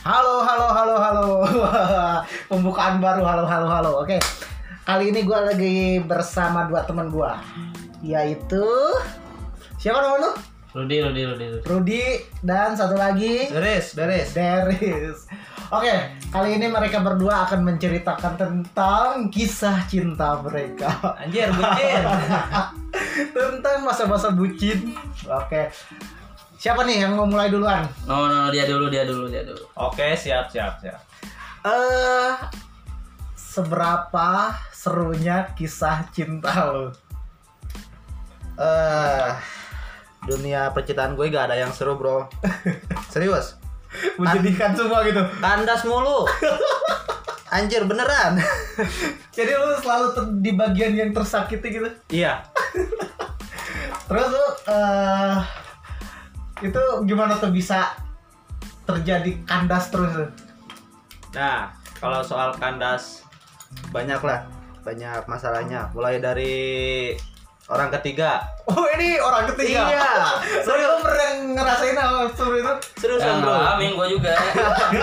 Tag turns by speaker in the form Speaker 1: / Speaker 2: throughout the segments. Speaker 1: Halo, halo, halo, halo. Pembukaan baru, halo, halo, halo. Oke, kali ini gue lagi bersama dua teman gue, yaitu siapa nama lu?
Speaker 2: Rudi, Rudi, Rudi, Rudi.
Speaker 1: Rudi dan satu lagi
Speaker 2: Beres, beres.
Speaker 1: Deris. Oke, kali ini mereka berdua akan menceritakan tentang kisah cinta mereka.
Speaker 2: Anjir, bucin.
Speaker 1: tentang masa-masa bucin. Oke. Siapa nih yang mau mulai duluan?
Speaker 2: no, no, no, dia dulu, dia dulu, dia dulu.
Speaker 3: Oke, siap, siap, siap.
Speaker 1: Eh, seberapa serunya kisah cinta lo?
Speaker 3: Eh, dunia percintaan gue gak ada yang seru, Bro. Serius.
Speaker 1: Menjadikan semua gitu.
Speaker 3: Kandas mulu. Anjir, beneran.
Speaker 1: Jadi lu selalu ter- di bagian yang tersakiti gitu.
Speaker 3: iya.
Speaker 1: Terus lu eh itu gimana tuh bisa terjadi kandas terus? tuh?
Speaker 3: Nah, kalau soal kandas banyak lah. Banyak masalahnya. Mulai dari orang ketiga.
Speaker 1: Oh ini orang ketiga.
Speaker 3: Iya.
Speaker 1: Lu- lu pernah ngerasain hal seperti itu?
Speaker 2: Yang
Speaker 3: Seriusan, Bro.
Speaker 2: ngalamin gua juga.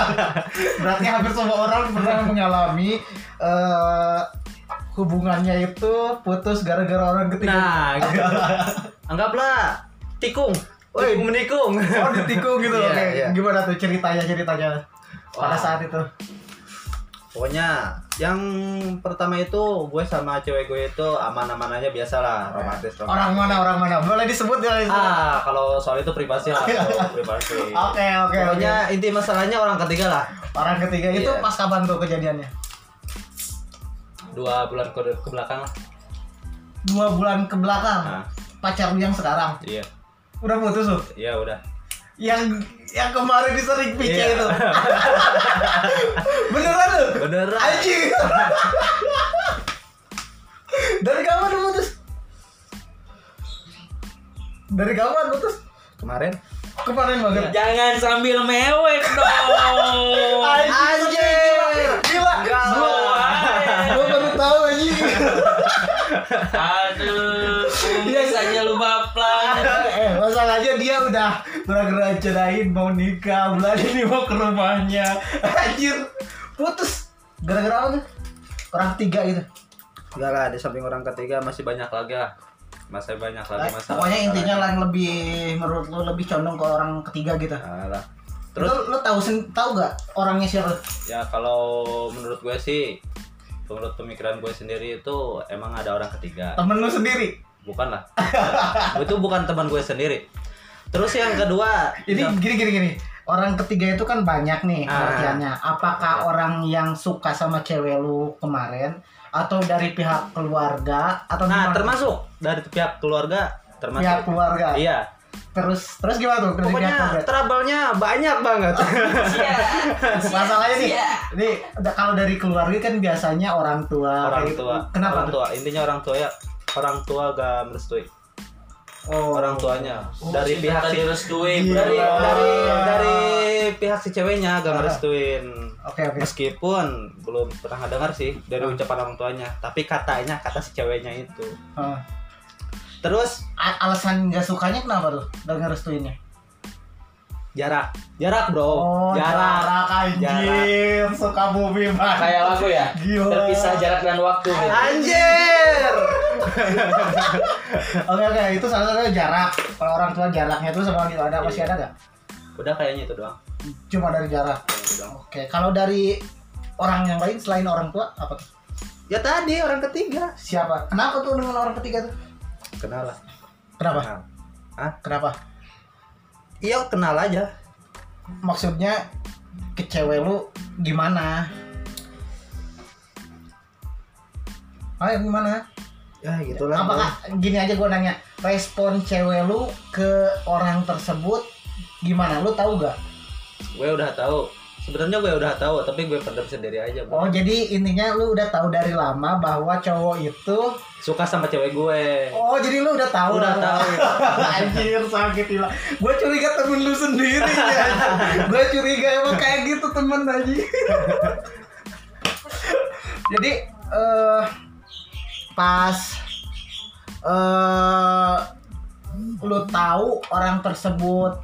Speaker 1: Berarti hampir semua orang pernah mengalami eh hubungannya itu putus gara-gara orang ketiga.
Speaker 3: Nah, gitu. anggaplah tikung.
Speaker 1: Woi.
Speaker 3: Tikung menikung.
Speaker 1: Oh ditikung gitu loh.
Speaker 3: Iya,
Speaker 1: Kayak
Speaker 3: iya.
Speaker 1: Gimana tuh ceritanya ceritanya pada
Speaker 3: Wah.
Speaker 1: saat itu?
Speaker 3: Pokoknya yang pertama itu gue sama cewek gue itu aman-aman aja biasa lah, romantis romantis.
Speaker 1: Orang mana orang mana? Boleh disebut boleh disebut.
Speaker 3: Ah, kalau soal itu privasi lah, kalau privasi.
Speaker 1: Oke Iya. Ah, oke oke.
Speaker 3: Pokoknya inti masalahnya orang ketiga lah.
Speaker 1: Orang ketiga itu
Speaker 3: Iya.
Speaker 1: pas kapan tuh kejadiannya?
Speaker 3: Dua bulan ke, ke belakang lah.
Speaker 1: Dua bulan ke belakang.
Speaker 3: Nah,
Speaker 1: Pacar lu yang sekarang
Speaker 3: iya,
Speaker 1: udah putus tuh.
Speaker 3: iya udah.
Speaker 1: Yang yang kemarin disering pice
Speaker 3: Iya.
Speaker 1: itu. Beneran lu?
Speaker 3: Beneran.
Speaker 1: Anjing. Dari kapan lu putus? Dari kapan putus?
Speaker 3: Kemarin.
Speaker 1: Kemarin banget.
Speaker 3: Iya.
Speaker 2: Jangan sambil mewek dong.
Speaker 1: Anjir. Gila.
Speaker 3: Enggak
Speaker 1: Gua
Speaker 2: lah.
Speaker 1: gua baru tahu anjing.
Speaker 2: Aduh,
Speaker 1: Iya.
Speaker 2: kumis aja lu baplang.
Speaker 1: eh, masalahnya dia udah pura-pura cerain mau nikah, bulan ini mau ke rumahnya. Anjir. Putus. Gara-gara apa tuh? Orang tiga gitu.
Speaker 3: Enggak lah, di samping orang ketiga masih banyak lagi lah. Masih banyak lagi
Speaker 1: Eh,
Speaker 3: masalah.
Speaker 1: Pokoknya intinya lah yang lebih menurut lu lebih condong ke orang ketiga gitu.
Speaker 3: Nah, lah.
Speaker 1: Terus
Speaker 3: Terus
Speaker 1: lu, lu tahu sen- tahu gak orangnya siapa?
Speaker 3: ya kalau menurut gue sih menurut pemikiran gue sendiri itu emang ada orang ketiga
Speaker 1: Temen lu sendiri.
Speaker 3: bukan lah itu bukan teman gue sendiri terus yang kedua
Speaker 1: Jadi
Speaker 3: ya,
Speaker 1: gini gini gini. Orang ketiga itu kan banyak nih
Speaker 3: Ah.
Speaker 1: pengertiannya. Apakah orang yang suka sama cewek lu kemarin atau dari pihak keluarga atau
Speaker 3: nah
Speaker 1: gimana?
Speaker 3: termasuk dari pihak keluarga termasuk
Speaker 1: pihak keluarga.
Speaker 3: iya
Speaker 1: Terus terus gimana tuh? Dari pihak
Speaker 3: pokoknya
Speaker 1: keluarga?
Speaker 3: trouble-nya banyak banget
Speaker 1: Masalahnya nih, nih da- kalau dari keluarga kan biasanya orang tua.
Speaker 3: orang
Speaker 1: kayak gitu.
Speaker 3: tua
Speaker 1: Kenapa?
Speaker 3: orang tua intinya orang tua ya orang tua gak merestui
Speaker 1: Oh.
Speaker 3: orang tuanya dari pihak si,
Speaker 2: tadi restuin.
Speaker 1: Iya.
Speaker 3: dari
Speaker 1: Wah.
Speaker 3: dari dari pihak si ceweknya gak merestuin
Speaker 1: Oke oke.
Speaker 3: Meskipun belum pernah dengar sih dari ucapan orang tuanya, tapi katanya kata si ceweknya itu.
Speaker 1: Ah.
Speaker 3: Terus
Speaker 1: A- alasan nggak sukanya kenapa tuh? Dengar restuinnya?
Speaker 3: jarak, jarak bro,
Speaker 1: Oh, anjir, suka bumi banget.
Speaker 2: Kayak lagu ya.
Speaker 1: Gila. Iya.
Speaker 2: Terpisah jarak dan waktu.
Speaker 3: Anjir.
Speaker 1: Oke oke, itu salah satunya jarak. Kalau orang tua jaraknya itu sama gitu ada masih ada nggak?
Speaker 3: Udah kayaknya itu doang.
Speaker 1: Cuma dari jarak.
Speaker 3: Itu doang.
Speaker 1: Oke, kalau dari orang yang lain selain orang tua apa tuh?
Speaker 3: Ya tadi orang ketiga.
Speaker 1: Siapa? Kenapa tuh dengan orang ketiga tuh?
Speaker 3: Kenal lah.
Speaker 1: Kenapa?
Speaker 3: Kenal. Hah?
Speaker 1: Kenapa?
Speaker 3: Iya kenal aja.
Speaker 1: Maksudnya ke cewek lu gimana? Ayo gimana?
Speaker 3: Ya gitulah.
Speaker 1: Apakah gini aja gue nanya, respon cewek lu ke orang tersebut gimana? Lu tahu gak?
Speaker 3: Gue udah tahu. Sebenarnya gue udah tahu, tapi gue pendam sendiri aja.
Speaker 1: Oh
Speaker 3: Bro.
Speaker 1: jadi intinya lu udah tahu dari lama bahwa cowok itu
Speaker 3: Suka sama cewek gue.
Speaker 1: Oh jadi lu udah tahu
Speaker 3: Udah tahu. ya.
Speaker 1: Anjir sakit hilang Gue curiga temen lu sendiri ya Gue curiga emang kayak gitu temen aja Jadi eh pas eh lu tahu orang tersebut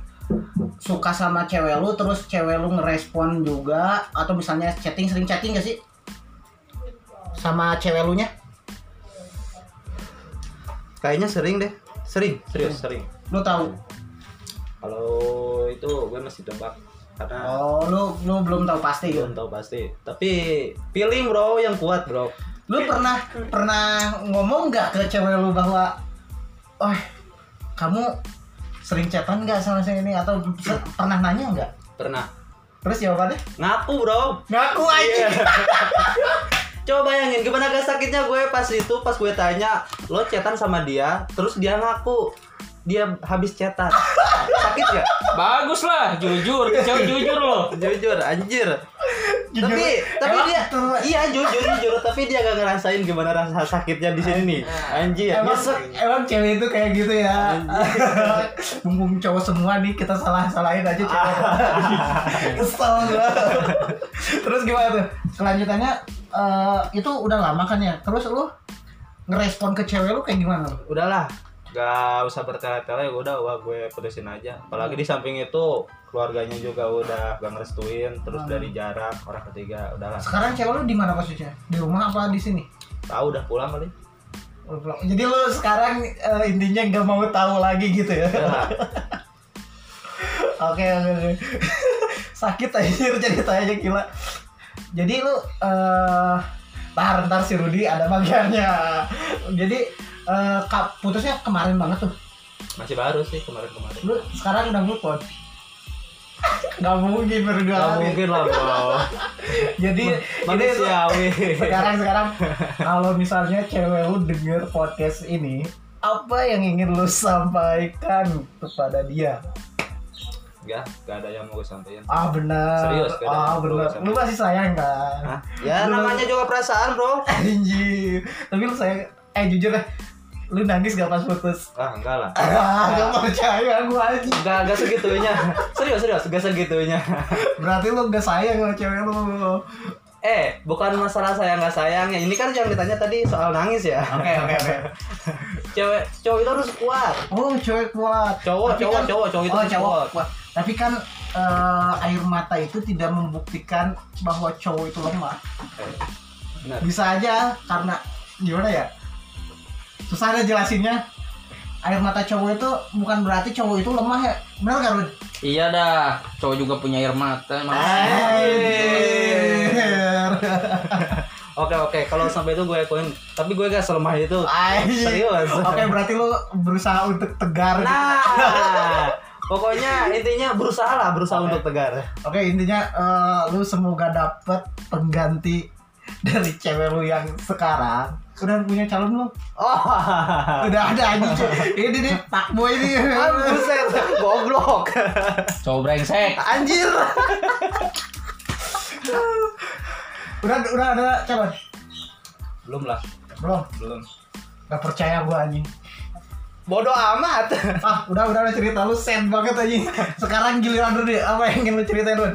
Speaker 1: suka sama cewek lu terus cewek lu ngerespon juga atau misalnya chatting sering chatting gak sih sama cewek lu nya
Speaker 3: Kayaknya sering deh. Sering, serius sering.
Speaker 1: lu tahu
Speaker 3: Kalau itu gue masih tebak karena
Speaker 1: oh lu lu belum tahu pasti gitu
Speaker 3: belum tahu pasti. Tapi feeling bro yang kuat bro.
Speaker 1: lu pernah pernah ngomong nggak ke cewek lu bahwa oh kamu sering chatan nggak sama saya ini atau se- pernah nanya nggak
Speaker 3: Pernah.
Speaker 1: terus jawabannya
Speaker 3: Ngaku bro.
Speaker 1: ngaku aja
Speaker 3: Coba bayangin gimana gak sakitnya gue pas itu pas gue tanya lo cetan sama dia terus dia ngaku dia habis cetan sakit gak?
Speaker 2: Bagus lah, jujur, cewek jujur loh.
Speaker 3: Jujur anjir.
Speaker 1: Jujur.
Speaker 3: tapi tapi
Speaker 1: Emang
Speaker 3: dia
Speaker 1: betul.
Speaker 3: iya jujur jujur tapi dia gak ngerasain gimana rasa sakitnya di sini nih.
Speaker 2: Iya.
Speaker 3: Anjir.
Speaker 1: Iya. emang,
Speaker 3: nyesek.
Speaker 1: emang cewek itu kayak gitu ya mumpung cowok semua nih kita salah salahin aja cewek kesel gua. terus gimana tuh kelanjutannya eh, itu udah lama kan ya terus lu ngerespon ke cewek lu kayak gimana lu?
Speaker 3: udahlah gak usah bertele-tele ya udah wah gue putusin aja
Speaker 1: Hmm.
Speaker 3: apalagi di samping itu keluarganya juga udah gak ngerestuin terus
Speaker 1: Hmm.
Speaker 3: dari jarak orang ketiga udahlah
Speaker 1: sekarang cewek lu di mana posisinya di rumah apa di sini
Speaker 3: tahu udah pulang kali
Speaker 1: Lu pulang. jadi lu sekarang eh, intinya nggak mau tahu lagi gitu ya
Speaker 3: Udahlah.
Speaker 1: Oke oke oke. Sakit anjir ceritanya gila. Jadi lu eh ntar ntar si Rudi ada bagiannya. Jadi eh kap, putusnya kemarin banget tuh.
Speaker 3: masih baru sih kemarin-kemarin
Speaker 1: Lu sekarang udah move on. Gak mungkin berdua
Speaker 3: gak
Speaker 1: hari.
Speaker 3: mungkin lah bro
Speaker 1: Jadi ini tuh-
Speaker 3: manusiawi
Speaker 1: sekarang sekarang kalau misalnya cewek lu denger podcast ini apa yang ingin lu sampaikan kepada dia?
Speaker 3: gak gak ada yang mau gue sampaikan
Speaker 1: Ah benar.
Speaker 3: Serius, gak ada
Speaker 1: ah
Speaker 3: yang perlu
Speaker 1: benar.
Speaker 3: sama.
Speaker 1: Lu masih sayang kan?
Speaker 3: Hah? ya namanya juga perasaan bro
Speaker 1: Anjir. Tapi lu sayang eh jujur deh. Lu nangis gak pas putus?
Speaker 3: ah enggak lah
Speaker 1: Ah, gak percaya gua aja.
Speaker 3: Gak, gak segitunya Serius, serius, gak segitunya
Speaker 1: Berarti lu gak sayang sama cewek lu.
Speaker 3: Eh, bukan masalah sayang gak sayangnya Ini kan yang ditanya tadi soal nangis ya
Speaker 1: Oke, oke, oke.
Speaker 3: cewek cowok itu harus kuat
Speaker 1: Oh, cewek kuat.
Speaker 3: Cowok,
Speaker 1: Tapi
Speaker 3: cowok, cowok, cowok itu
Speaker 1: oh,
Speaker 3: harus
Speaker 1: cowok kuat.
Speaker 3: kuat.
Speaker 1: Tapi kan eh, air mata itu tidak membuktikan bahwa cowok itu lemah.
Speaker 3: benar
Speaker 1: Bisa aja karena gimana ya? Susah deh jelasinnya. Air mata cowok itu bukan berarti cowok itu lemah ya. Benar gak, Rud?
Speaker 2: Iya dah, cowok juga punya air mata.
Speaker 1: Anjir.
Speaker 3: oke oke kalau sampai itu gue akuin tapi gue gak selemah itu
Speaker 1: Anjing.
Speaker 3: serius
Speaker 1: Oke, berarti lu berusaha untuk tegar. gitu.
Speaker 3: nah pokoknya intinya berusaha lah berusaha untuk tegar
Speaker 1: Oke, intinya eh, lu semoga dapet pengganti dari cewek lu yang sekarang. Udah punya calon lu?
Speaker 3: oh
Speaker 1: Udah ada anjing. Ini nih Pak Boy ini.
Speaker 3: Ah, buset goblok
Speaker 2: Cowok brengsek.
Speaker 3: anjir
Speaker 1: udah udah ada calon.
Speaker 3: belum lah
Speaker 1: Belum.
Speaker 3: belum
Speaker 1: Gak percaya gua anjing.
Speaker 3: bodoh amat
Speaker 1: Ah, udah udah udah cerita lu sad banget anjing. Sekarang giliran lu deh. Apa yang ingin lu ceritain, Run?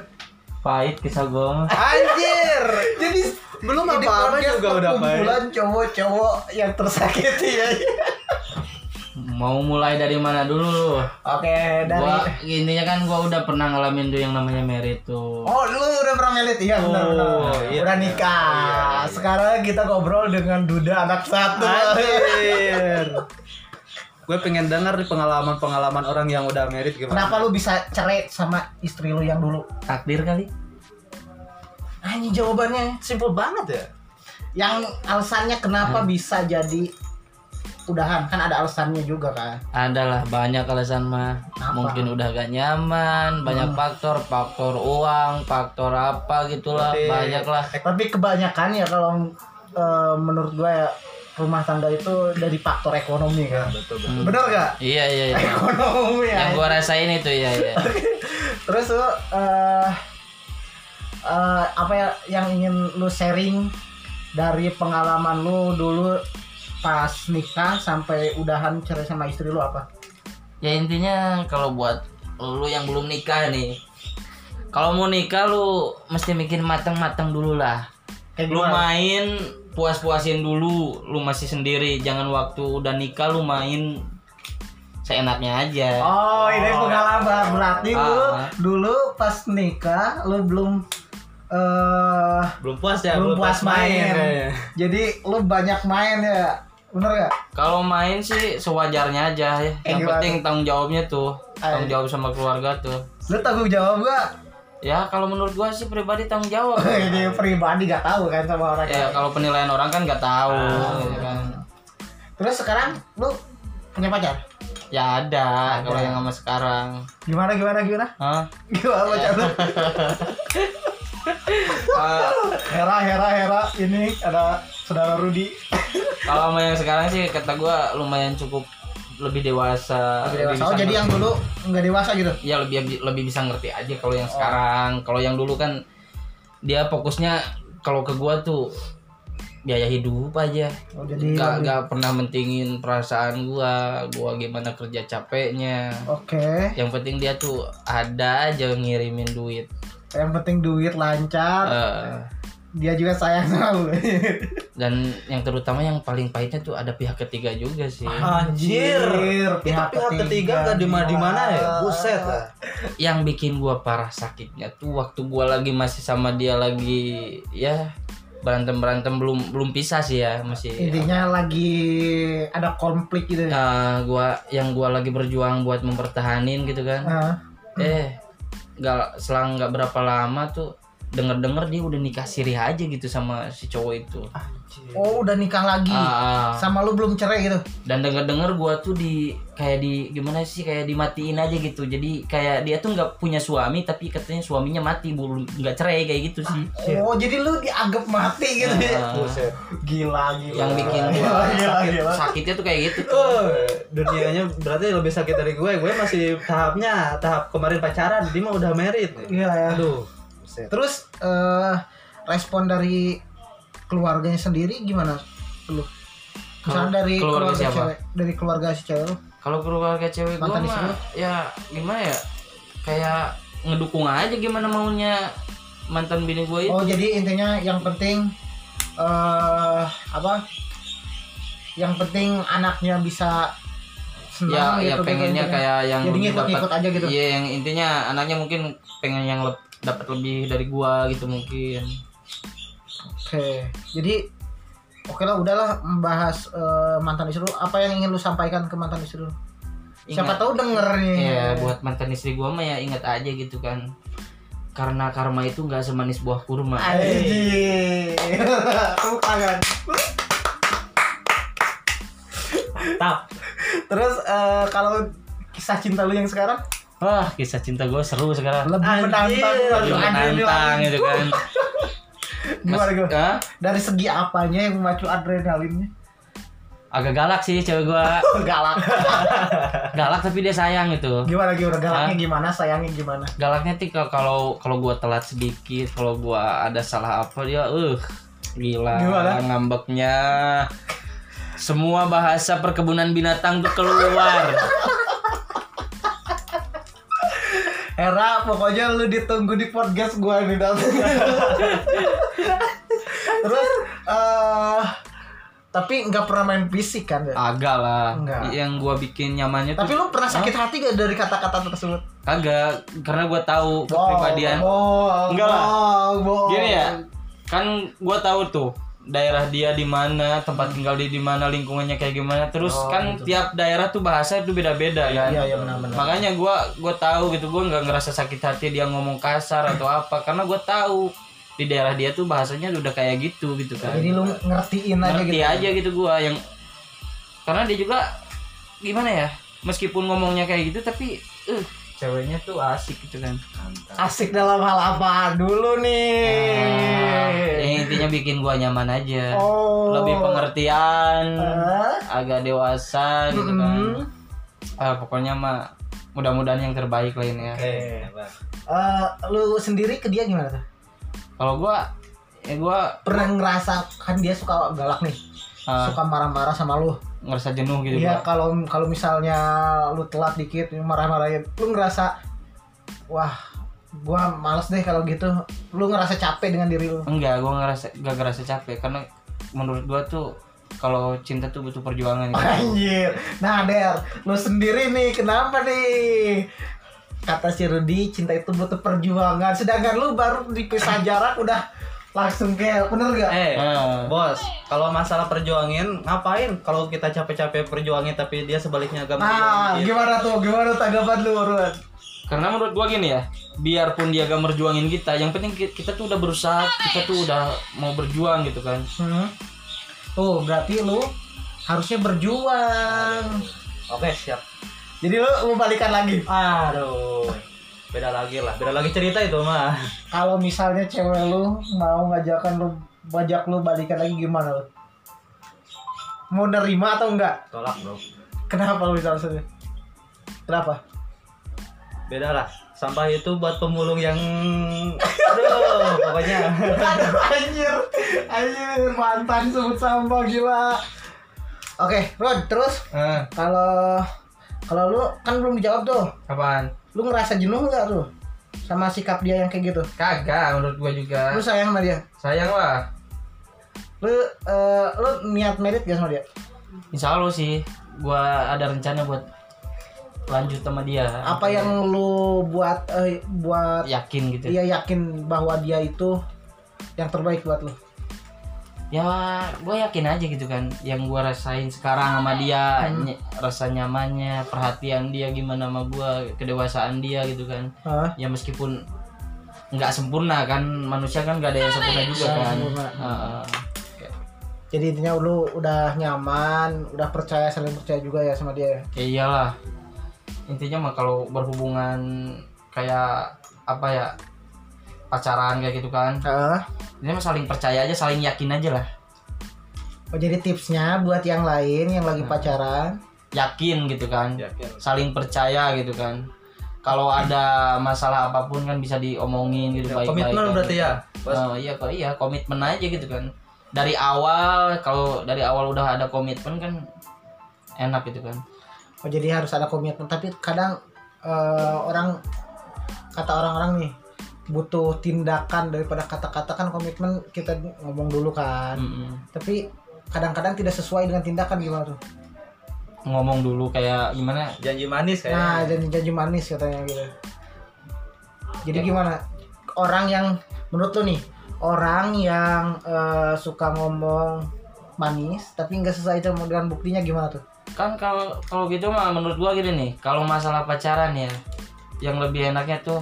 Speaker 2: Pahit kisah gua mah.
Speaker 3: anjir
Speaker 1: Jadi
Speaker 3: belum
Speaker 1: ini
Speaker 3: apa-apa
Speaker 1: podcast
Speaker 3: juga udah ya?
Speaker 1: perkumpulan cowok-cowok yang tersakiti ya.
Speaker 2: Mau mulai dari mana dulu lu?
Speaker 1: Oke, dari
Speaker 2: Gua intinya kan gua udah pernah ngalamin tuh yang namanya merit tuh.
Speaker 1: Oh, lu udah pernah melit? Iya, benar
Speaker 3: Oh,
Speaker 1: benar.
Speaker 3: iya,
Speaker 1: udah
Speaker 3: iya.
Speaker 1: nikah. Sekarang kita ngobrol dengan duda anak satu.
Speaker 3: anjir gue pengen dengar nih pengalaman-pengalaman orang yang udah merit gimana
Speaker 1: Kenapa lu bisa cerai sama istri lu yang dulu?
Speaker 2: Takdir kali.
Speaker 1: Anjing jawabannya.
Speaker 3: simple banget ya
Speaker 1: Yang alasannya kenapa
Speaker 2: Hmm.
Speaker 1: bisa jadi udahan? Kan ada alasannya juga kan.
Speaker 2: Adalah banyak alasan mah.
Speaker 1: Apa? Hmm.
Speaker 2: Mungkin udah gak nyaman, banyak faktor, faktor uang, faktor apa gitulah,
Speaker 1: Iya.
Speaker 3: Berarti-
Speaker 2: banyak lah.
Speaker 1: Tapi kebanyakan ya kalau eh, menurut gua ya rumah tangga itu dari faktor ekonomi kan.
Speaker 3: betul betul
Speaker 1: Bener gak?
Speaker 2: Iya iya iya.
Speaker 1: Ekonomi
Speaker 2: Hmm, yang
Speaker 1: ya.
Speaker 2: gua rasain itu ya ya.
Speaker 1: Terus lu eh eh, apa ya yang ingin lu sharing dari pengalaman lu dulu pas nikah sampai udahan cerai sama istri lu apa?
Speaker 2: ya intinya kalau buat lu yang belum nikah nih kalau mau nikah lu mesti mikir mateng-mateng dulu lah
Speaker 1: Kayak
Speaker 2: lu
Speaker 1: gimana?
Speaker 2: main puas-puasin dulu lu masih sendiri jangan waktu udah nikah lu main seenaknya aja
Speaker 1: Oh, ini pengalaman berarti lu
Speaker 2: Ah.
Speaker 1: dulu pas nikah lu belum eh
Speaker 3: belum puas ya
Speaker 1: belum puas main.
Speaker 3: kayaknya.
Speaker 1: Jadi lu banyak main ya. Bener gak?
Speaker 2: Kalau main sih sewajarnya aja
Speaker 1: Eh,
Speaker 2: ya. Yang
Speaker 1: gimana?
Speaker 2: penting tanggung jawabnya tuh,
Speaker 1: Ah,
Speaker 2: tanggung
Speaker 1: iya.
Speaker 2: jawab sama keluarga tuh.
Speaker 1: Lu tanggung jawab gak?
Speaker 2: Ya kalau menurut gua sih pribadi tanggung jawab.
Speaker 1: ini pribadi gak tahu kan sama orang
Speaker 2: ya
Speaker 1: lain.
Speaker 2: kalau penilaian orang kan nggak tahu, ya kan.
Speaker 1: Terus sekarang lu punya pacar?
Speaker 2: Ya ada, kalau yang sama sekarang.
Speaker 1: Gimana gimana gimana?
Speaker 2: Hah?
Speaker 1: Gimana pacar lu?
Speaker 2: Ah,
Speaker 1: Hera Hera Hera ini ada saudara Rudi.
Speaker 2: kalau sama yang sekarang sih kata gua lumayan cukup lebih dewasa.
Speaker 1: Oh,
Speaker 2: bisa
Speaker 1: jadi
Speaker 2: ngerti.
Speaker 1: yang dulu nggak dewasa gitu.
Speaker 2: ya lebih lebih bisa ngerti aja kalau yang sekarang. Kalau yang dulu kan dia fokusnya kalau ke gua tuh biaya hidup aja.
Speaker 1: Oh, jadi
Speaker 2: nggak
Speaker 1: lebih-
Speaker 2: nggak pernah mentingin perasaan gua gua gimana kerja capeknya
Speaker 1: Oke,
Speaker 2: yang penting dia tuh ada aja ngirimin duit
Speaker 1: yang penting duit lancar.
Speaker 2: Eh,
Speaker 1: Dia juga sayang sama lu.
Speaker 2: dan yang terutama yang paling pahitnya tuh ada pihak ketiga juga sih
Speaker 3: Anjir,
Speaker 1: Anjir,
Speaker 3: itu pihak, Eh, ketiga nggak di mana di mana ya? Buset lah.
Speaker 2: yang bikin gua parah sakitnya tuh waktu gua lagi masih sama dia lagi ya berantem berantem belum belum pisah sih ya masih
Speaker 1: Intinya lagi ada konflik gitu. ya.
Speaker 2: Eh, gua yang gua lagi berjuang buat mempertahanin gitu kan
Speaker 1: Heeh.
Speaker 2: eh nggak selang nggak berapa lama tuh denger denger dia udah nikah siri aja gitu sama si cowok itu
Speaker 1: oh, udah nikah lagi.
Speaker 2: Ah, ah.
Speaker 1: Sama lu belum cerai gitu.
Speaker 2: dan denger denger gua tuh di kayak di gimana sih kayak dimatiin aja gitu jadi kayak dia tuh nggak punya suami tapi katanya suaminya mati belum nggak cerai kayak gitu sih
Speaker 1: Oh, jadi lu dianggap mati gitu. ya.
Speaker 2: Ah,
Speaker 3: Buset.
Speaker 1: Gila gila.
Speaker 2: yang bikin gua
Speaker 1: gila, gila,
Speaker 2: sakit,
Speaker 1: gila.
Speaker 2: sakitnya tuh kayak gitu tuh
Speaker 3: Eh, dunianya berarti lebih sakit dari gue. Gue masih tahapnya tahap kemarin pacaran, dia mah udah merit.
Speaker 1: Iya ya.
Speaker 3: Aduh. Buset.
Speaker 1: Terus eh respon dari keluarganya sendiri gimana lu? Misalnya dari keluarga,
Speaker 2: Keluarga siapa?
Speaker 1: cewek, dari keluarga si cewek lu.
Speaker 2: kalau keluarga cewek gua
Speaker 1: Mantan istri
Speaker 2: mah
Speaker 1: lu?
Speaker 2: ya gimana ya kayak ngedukung aja gimana maunya mantan bini gua ya. itu
Speaker 1: Oh jadi intinya yang penting eh apa? Yang penting anaknya bisa senang
Speaker 2: ya, ya
Speaker 1: gitu, gitu,
Speaker 2: pengennya
Speaker 1: gitu.
Speaker 2: kayak yang
Speaker 1: Jadi
Speaker 2: dapat-
Speaker 1: ngikut-ngikut aja gitu.
Speaker 2: Iya, yang intinya anaknya mungkin pengen yang lep- dapat lebih dari gua gitu mungkin.
Speaker 1: Oke. Jadi oke lah udahlah membahas eh, mantan istri lu. Apa yang ingin lu sampaikan ke mantan istri lu? Siapa
Speaker 2: Ingat-
Speaker 1: tahu denger nih.
Speaker 2: Ya, buat mantan istri gua mah ya ingat aja gitu kan. Karena karma itu nggak semanis buah kurma.
Speaker 1: Anjir. Tepuk tangan.
Speaker 3: Tap.
Speaker 1: Terus eh, kalau kisah cinta lu yang sekarang
Speaker 2: Wah, kisah cinta gua seru sekarang.
Speaker 1: lebih
Speaker 3: Anjir.
Speaker 1: menantang
Speaker 2: Lebih
Speaker 1: lebih adrenalin.
Speaker 2: menantang gitu kan. Mas-
Speaker 1: Gimana gimana?
Speaker 2: Hah?
Speaker 1: Dari segi apanya yang memacu adrenalinnya?
Speaker 2: agak galak sih cewek gua.
Speaker 1: Galak.
Speaker 2: Galak tapi dia sayang gitu.
Speaker 1: gimana gimana galaknya
Speaker 2: Hah?
Speaker 1: gimana sayangnya gimana?
Speaker 2: Galaknya tika kalau kalau gua telat sedikit, kalau gua ada salah apa dia eh gila
Speaker 1: Gimana?
Speaker 2: ngambeknya. Semua bahasa perkebunan binatang tuh keluar.
Speaker 1: Era pokoknya lu ditunggu di podcast gua nih Dan. Terus eh tapi nggak pernah main fisik kan ya?
Speaker 2: Agak lah.
Speaker 1: Enggak.
Speaker 2: Yang gua bikin nyamannya
Speaker 1: Tapi lu
Speaker 2: tuh
Speaker 1: pernah sakit hati gak dari kata-kata tersebut?
Speaker 2: kagak karena gua
Speaker 1: Oh,
Speaker 2: tahu kepribadian.
Speaker 1: Bohong.
Speaker 2: Enggak lah.
Speaker 1: bohong, bohong.
Speaker 2: Gini ya. Kan gua tahu tuh daerah dia di mana, tempat tinggal dia di mana, lingkungannya kayak gimana. Terus kan tiap daerah tuh bahasa itu beda-beda
Speaker 1: Oh,
Speaker 2: kan.
Speaker 1: gitu. Iya iya benar-benar.
Speaker 2: makanya gue gue tahu gitu gue nggak ngerasa sakit hati dia ngomong kasar atau apa karena gue tahu di daerah dia tuh bahasanya udah kayak gitu gitu kan
Speaker 1: Jadi lu ngertiin aja
Speaker 2: ngerti
Speaker 1: gitu.
Speaker 2: aja gitu gue yang karena dia juga gimana ya meskipun ngomongnya kayak gitu tapi eh ceweknya tuh asik gitu kan
Speaker 1: Asik dalam hal apa dulu
Speaker 2: Nah,
Speaker 1: nih?
Speaker 2: yang intinya bikin gue nyaman aja
Speaker 1: Oh.
Speaker 2: lebih pengertian
Speaker 1: Eh?
Speaker 2: agak dewasa gitu
Speaker 1: Mm-mm.
Speaker 2: kan Ah, pokoknya mah mudah-mudahan yang terbaik lainnya
Speaker 3: Oke.
Speaker 1: Eh, lu sendiri ke dia gimana tuh?
Speaker 2: kalau gua ya gua
Speaker 1: Pernah ngerasa kan dia suka galak nih,
Speaker 2: uh,
Speaker 1: suka marah-marah sama lu.
Speaker 2: ngerasa jenuh gitu
Speaker 1: Eh, Iya
Speaker 2: gua.
Speaker 1: kalau kalau misalnya lu telat dikit marah-marahin, lu ngerasa wah gua males deh kalau gitu. Lu ngerasa capek dengan diri lu.
Speaker 2: enggak gua ngerasa gak ngerasa capek karena menurut gua tuh kalau cinta tuh butuh perjuangan gitu.
Speaker 1: Anjir. Nah, Der, lu sendiri nih kenapa nih? Kata si Rudy, cinta itu butuh perjuangan. Sedangkan lu baru dipisah jarak udah langsung kayak bener gak?
Speaker 3: Eh,
Speaker 2: Ah.
Speaker 3: bos, kalau masalah perjuangin, ngapain? Kalau kita capek-capek perjuangin tapi dia sebaliknya agak
Speaker 1: Nah,
Speaker 3: berjuangin.
Speaker 1: gimana tuh? Gimana tanggapan lu, Run?
Speaker 2: Karena menurut gua gini ya, biarpun dia gak merjuangin kita, yang penting ki- kita tuh udah berusaha, kita tuh udah mau berjuang gitu kan.
Speaker 1: Hmm. Tuh, berarti lu harusnya berjuang.
Speaker 3: Oke, siap.
Speaker 1: Jadi lu mau balikan lagi.
Speaker 3: Aduh. Beda lagi lah, beda lagi cerita itu mah.
Speaker 1: Kalau misalnya cewek lu mau ngajakan lu bajak lu balikan lagi gimana lu? Mau nerima atau enggak?
Speaker 3: Tolak, Bro.
Speaker 1: Kenapa lu bisa alasannya? Kenapa?
Speaker 3: Beda lah. Sampah itu buat pemulung yang aduh, pokoknya.
Speaker 1: Aduh, Oh, anjir, anjir mantan sebut sampah gila. Oke, Ron, terus
Speaker 2: Ah,
Speaker 1: kalau kalau lu kan belum dijawab tuh,
Speaker 2: apaan?
Speaker 1: lu ngerasa jenuh nggak tuh sama sikap dia yang kayak gitu?
Speaker 2: Kagak menurut gua juga.
Speaker 1: Lu sayang sama dia?
Speaker 2: Sayang lah.
Speaker 1: Lu eh, lu niat merit gak sama dia?
Speaker 2: Insya Allah sih, gua ada rencana buat lanjut sama dia.
Speaker 1: Apa yang Iya. lu buat eh, buat
Speaker 2: yakin gitu?
Speaker 1: dia yakin bahwa dia itu yang terbaik buat lu?
Speaker 2: Ya, gua yakin aja gitu kan. Yang gua rasain sekarang sama dia, ny- rasa nyamannya, perhatian dia gimana sama gua, kedewasaan dia gitu kan.
Speaker 1: Hah?
Speaker 2: ya meskipun nggak sempurna kan manusia kan nggak ada yang sempurna juga kan
Speaker 1: sempurna.
Speaker 2: Heeh.
Speaker 1: Jadi intinya lu udah nyaman, udah percaya, saling percaya juga ya sama dia ya?
Speaker 2: ya iyalah intinya mah kalau berhubungan kayak apa ya pacaran kayak gitu kan
Speaker 1: Heeh.
Speaker 2: ini mah saling percaya aja saling yakin aja lah
Speaker 1: Oh, jadi tipsnya buat yang lain yang lagi pacaran,
Speaker 2: yakin gitu kan
Speaker 3: Yakin.
Speaker 2: saling percaya gitu kan kalau ada masalah apapun kan bisa diomongin gitu baik-baik
Speaker 3: Iya, Komitmen
Speaker 2: kan.
Speaker 3: berarti ya. Bos.
Speaker 2: Oh, iya kok iya komitmen aja gitu kan. Dari awal kalau dari awal udah ada komitmen kan enak gitu kan.
Speaker 1: oh jadi harus ada komitmen. Tapi kadang eh, orang kata orang-orang nih butuh tindakan daripada kata-kata kan komitmen kita ngomong dulu kan.
Speaker 2: Mm-mm.
Speaker 1: Tapi kadang-kadang tidak sesuai dengan tindakan gimana tuh.
Speaker 2: Ngomong dulu kayak gimana?
Speaker 3: Janji manis
Speaker 1: Nah,
Speaker 3: kayaknya.
Speaker 1: janji-janji manis katanya gitu.
Speaker 2: Ya.
Speaker 1: Jadi gimana? Orang yang menurut lu nih, orang yang eh, suka ngomong manis tapi nggak sesuai sama dengan buktinya gimana tuh?
Speaker 2: Kan kalau kalau gitu mah menurut gua gini nih, kalau masalah pacaran ya yang lebih enaknya tuh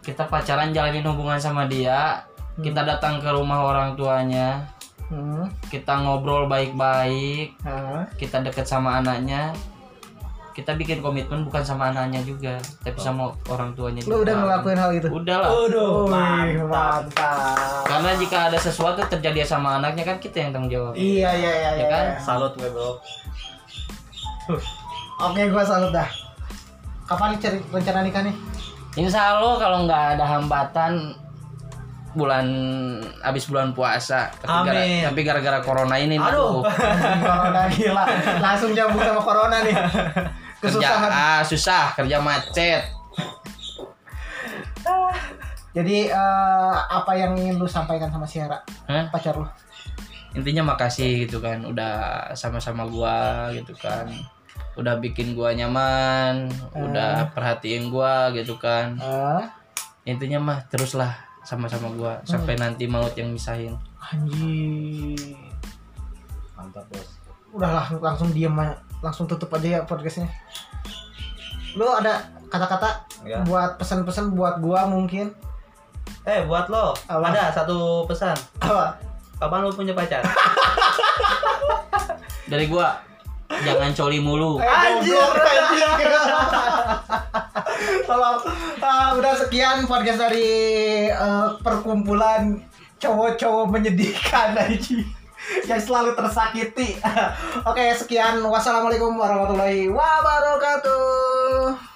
Speaker 2: kita pacaran jalanin hubungan sama dia, kita
Speaker 3: Hmm.
Speaker 2: datang ke rumah orang tuanya,
Speaker 1: Hmm.
Speaker 2: kita ngobrol baik-baik,
Speaker 1: Nah.
Speaker 2: kita deket sama anaknya kita bikin komitmen bukan sama anaknya juga tapi sama orang tuanya
Speaker 1: Lu udah ngelakuin hal itu?
Speaker 2: udah lah
Speaker 1: Wih,
Speaker 3: Aduh, mantap.
Speaker 1: mantap.
Speaker 2: karena jika ada sesuatu terjadi sama anaknya kan kita yang tanggung jawab
Speaker 1: Iya, iya, iya,
Speaker 2: Ya
Speaker 1: iya.
Speaker 2: kan?
Speaker 3: Salut gue, Bro.
Speaker 1: Oke, gua salut dah. Kapan nih cari- rencana nikah nih?
Speaker 2: insya Allah kalau nggak ada hambatan bulan abis bulan puasa tapi
Speaker 3: Amin.
Speaker 2: gara, tapi gara-gara corona ini nih,
Speaker 3: Aduh.
Speaker 2: tuh,
Speaker 1: Hmm, corona gila. Langsung nyambung sama corona nih.
Speaker 2: kerja
Speaker 1: Kesusahan.
Speaker 2: ah, susah kerja macet
Speaker 1: Jadi eh, apa yang ingin lu sampaikan sama si Hera
Speaker 2: Hah?
Speaker 1: pacar lu?
Speaker 2: intinya makasih gitu kan udah sama-sama gua gitu kan udah bikin gua nyaman udah perhatiin gua gitu kan
Speaker 1: Eh,
Speaker 2: intinya mah teruslah sama-sama gua sampai nanti maut yang misahin
Speaker 1: anjing.
Speaker 3: Mantap, Bos.
Speaker 1: Udah lah, langsung diem aja. langsung tutup aja ya podcastnya. Lu ada kata-kata
Speaker 3: Ya.
Speaker 1: buat pesan-pesan buat gua mungkin?
Speaker 3: Eh, buat lo.
Speaker 1: Apa?
Speaker 3: Ada satu pesan.
Speaker 1: Apa?
Speaker 3: Kapan lo punya pacar?
Speaker 2: dari gua jangan coli mulu
Speaker 1: Anjir, Eh, anjir. Tolong. Ah, udah sekian podcast dari eh, perkumpulan cowok-cowok menyedihkan aja yang selalu tersakiti. Oke, sekian. Wassalamualaikum warahmatullahi wabarakatuh.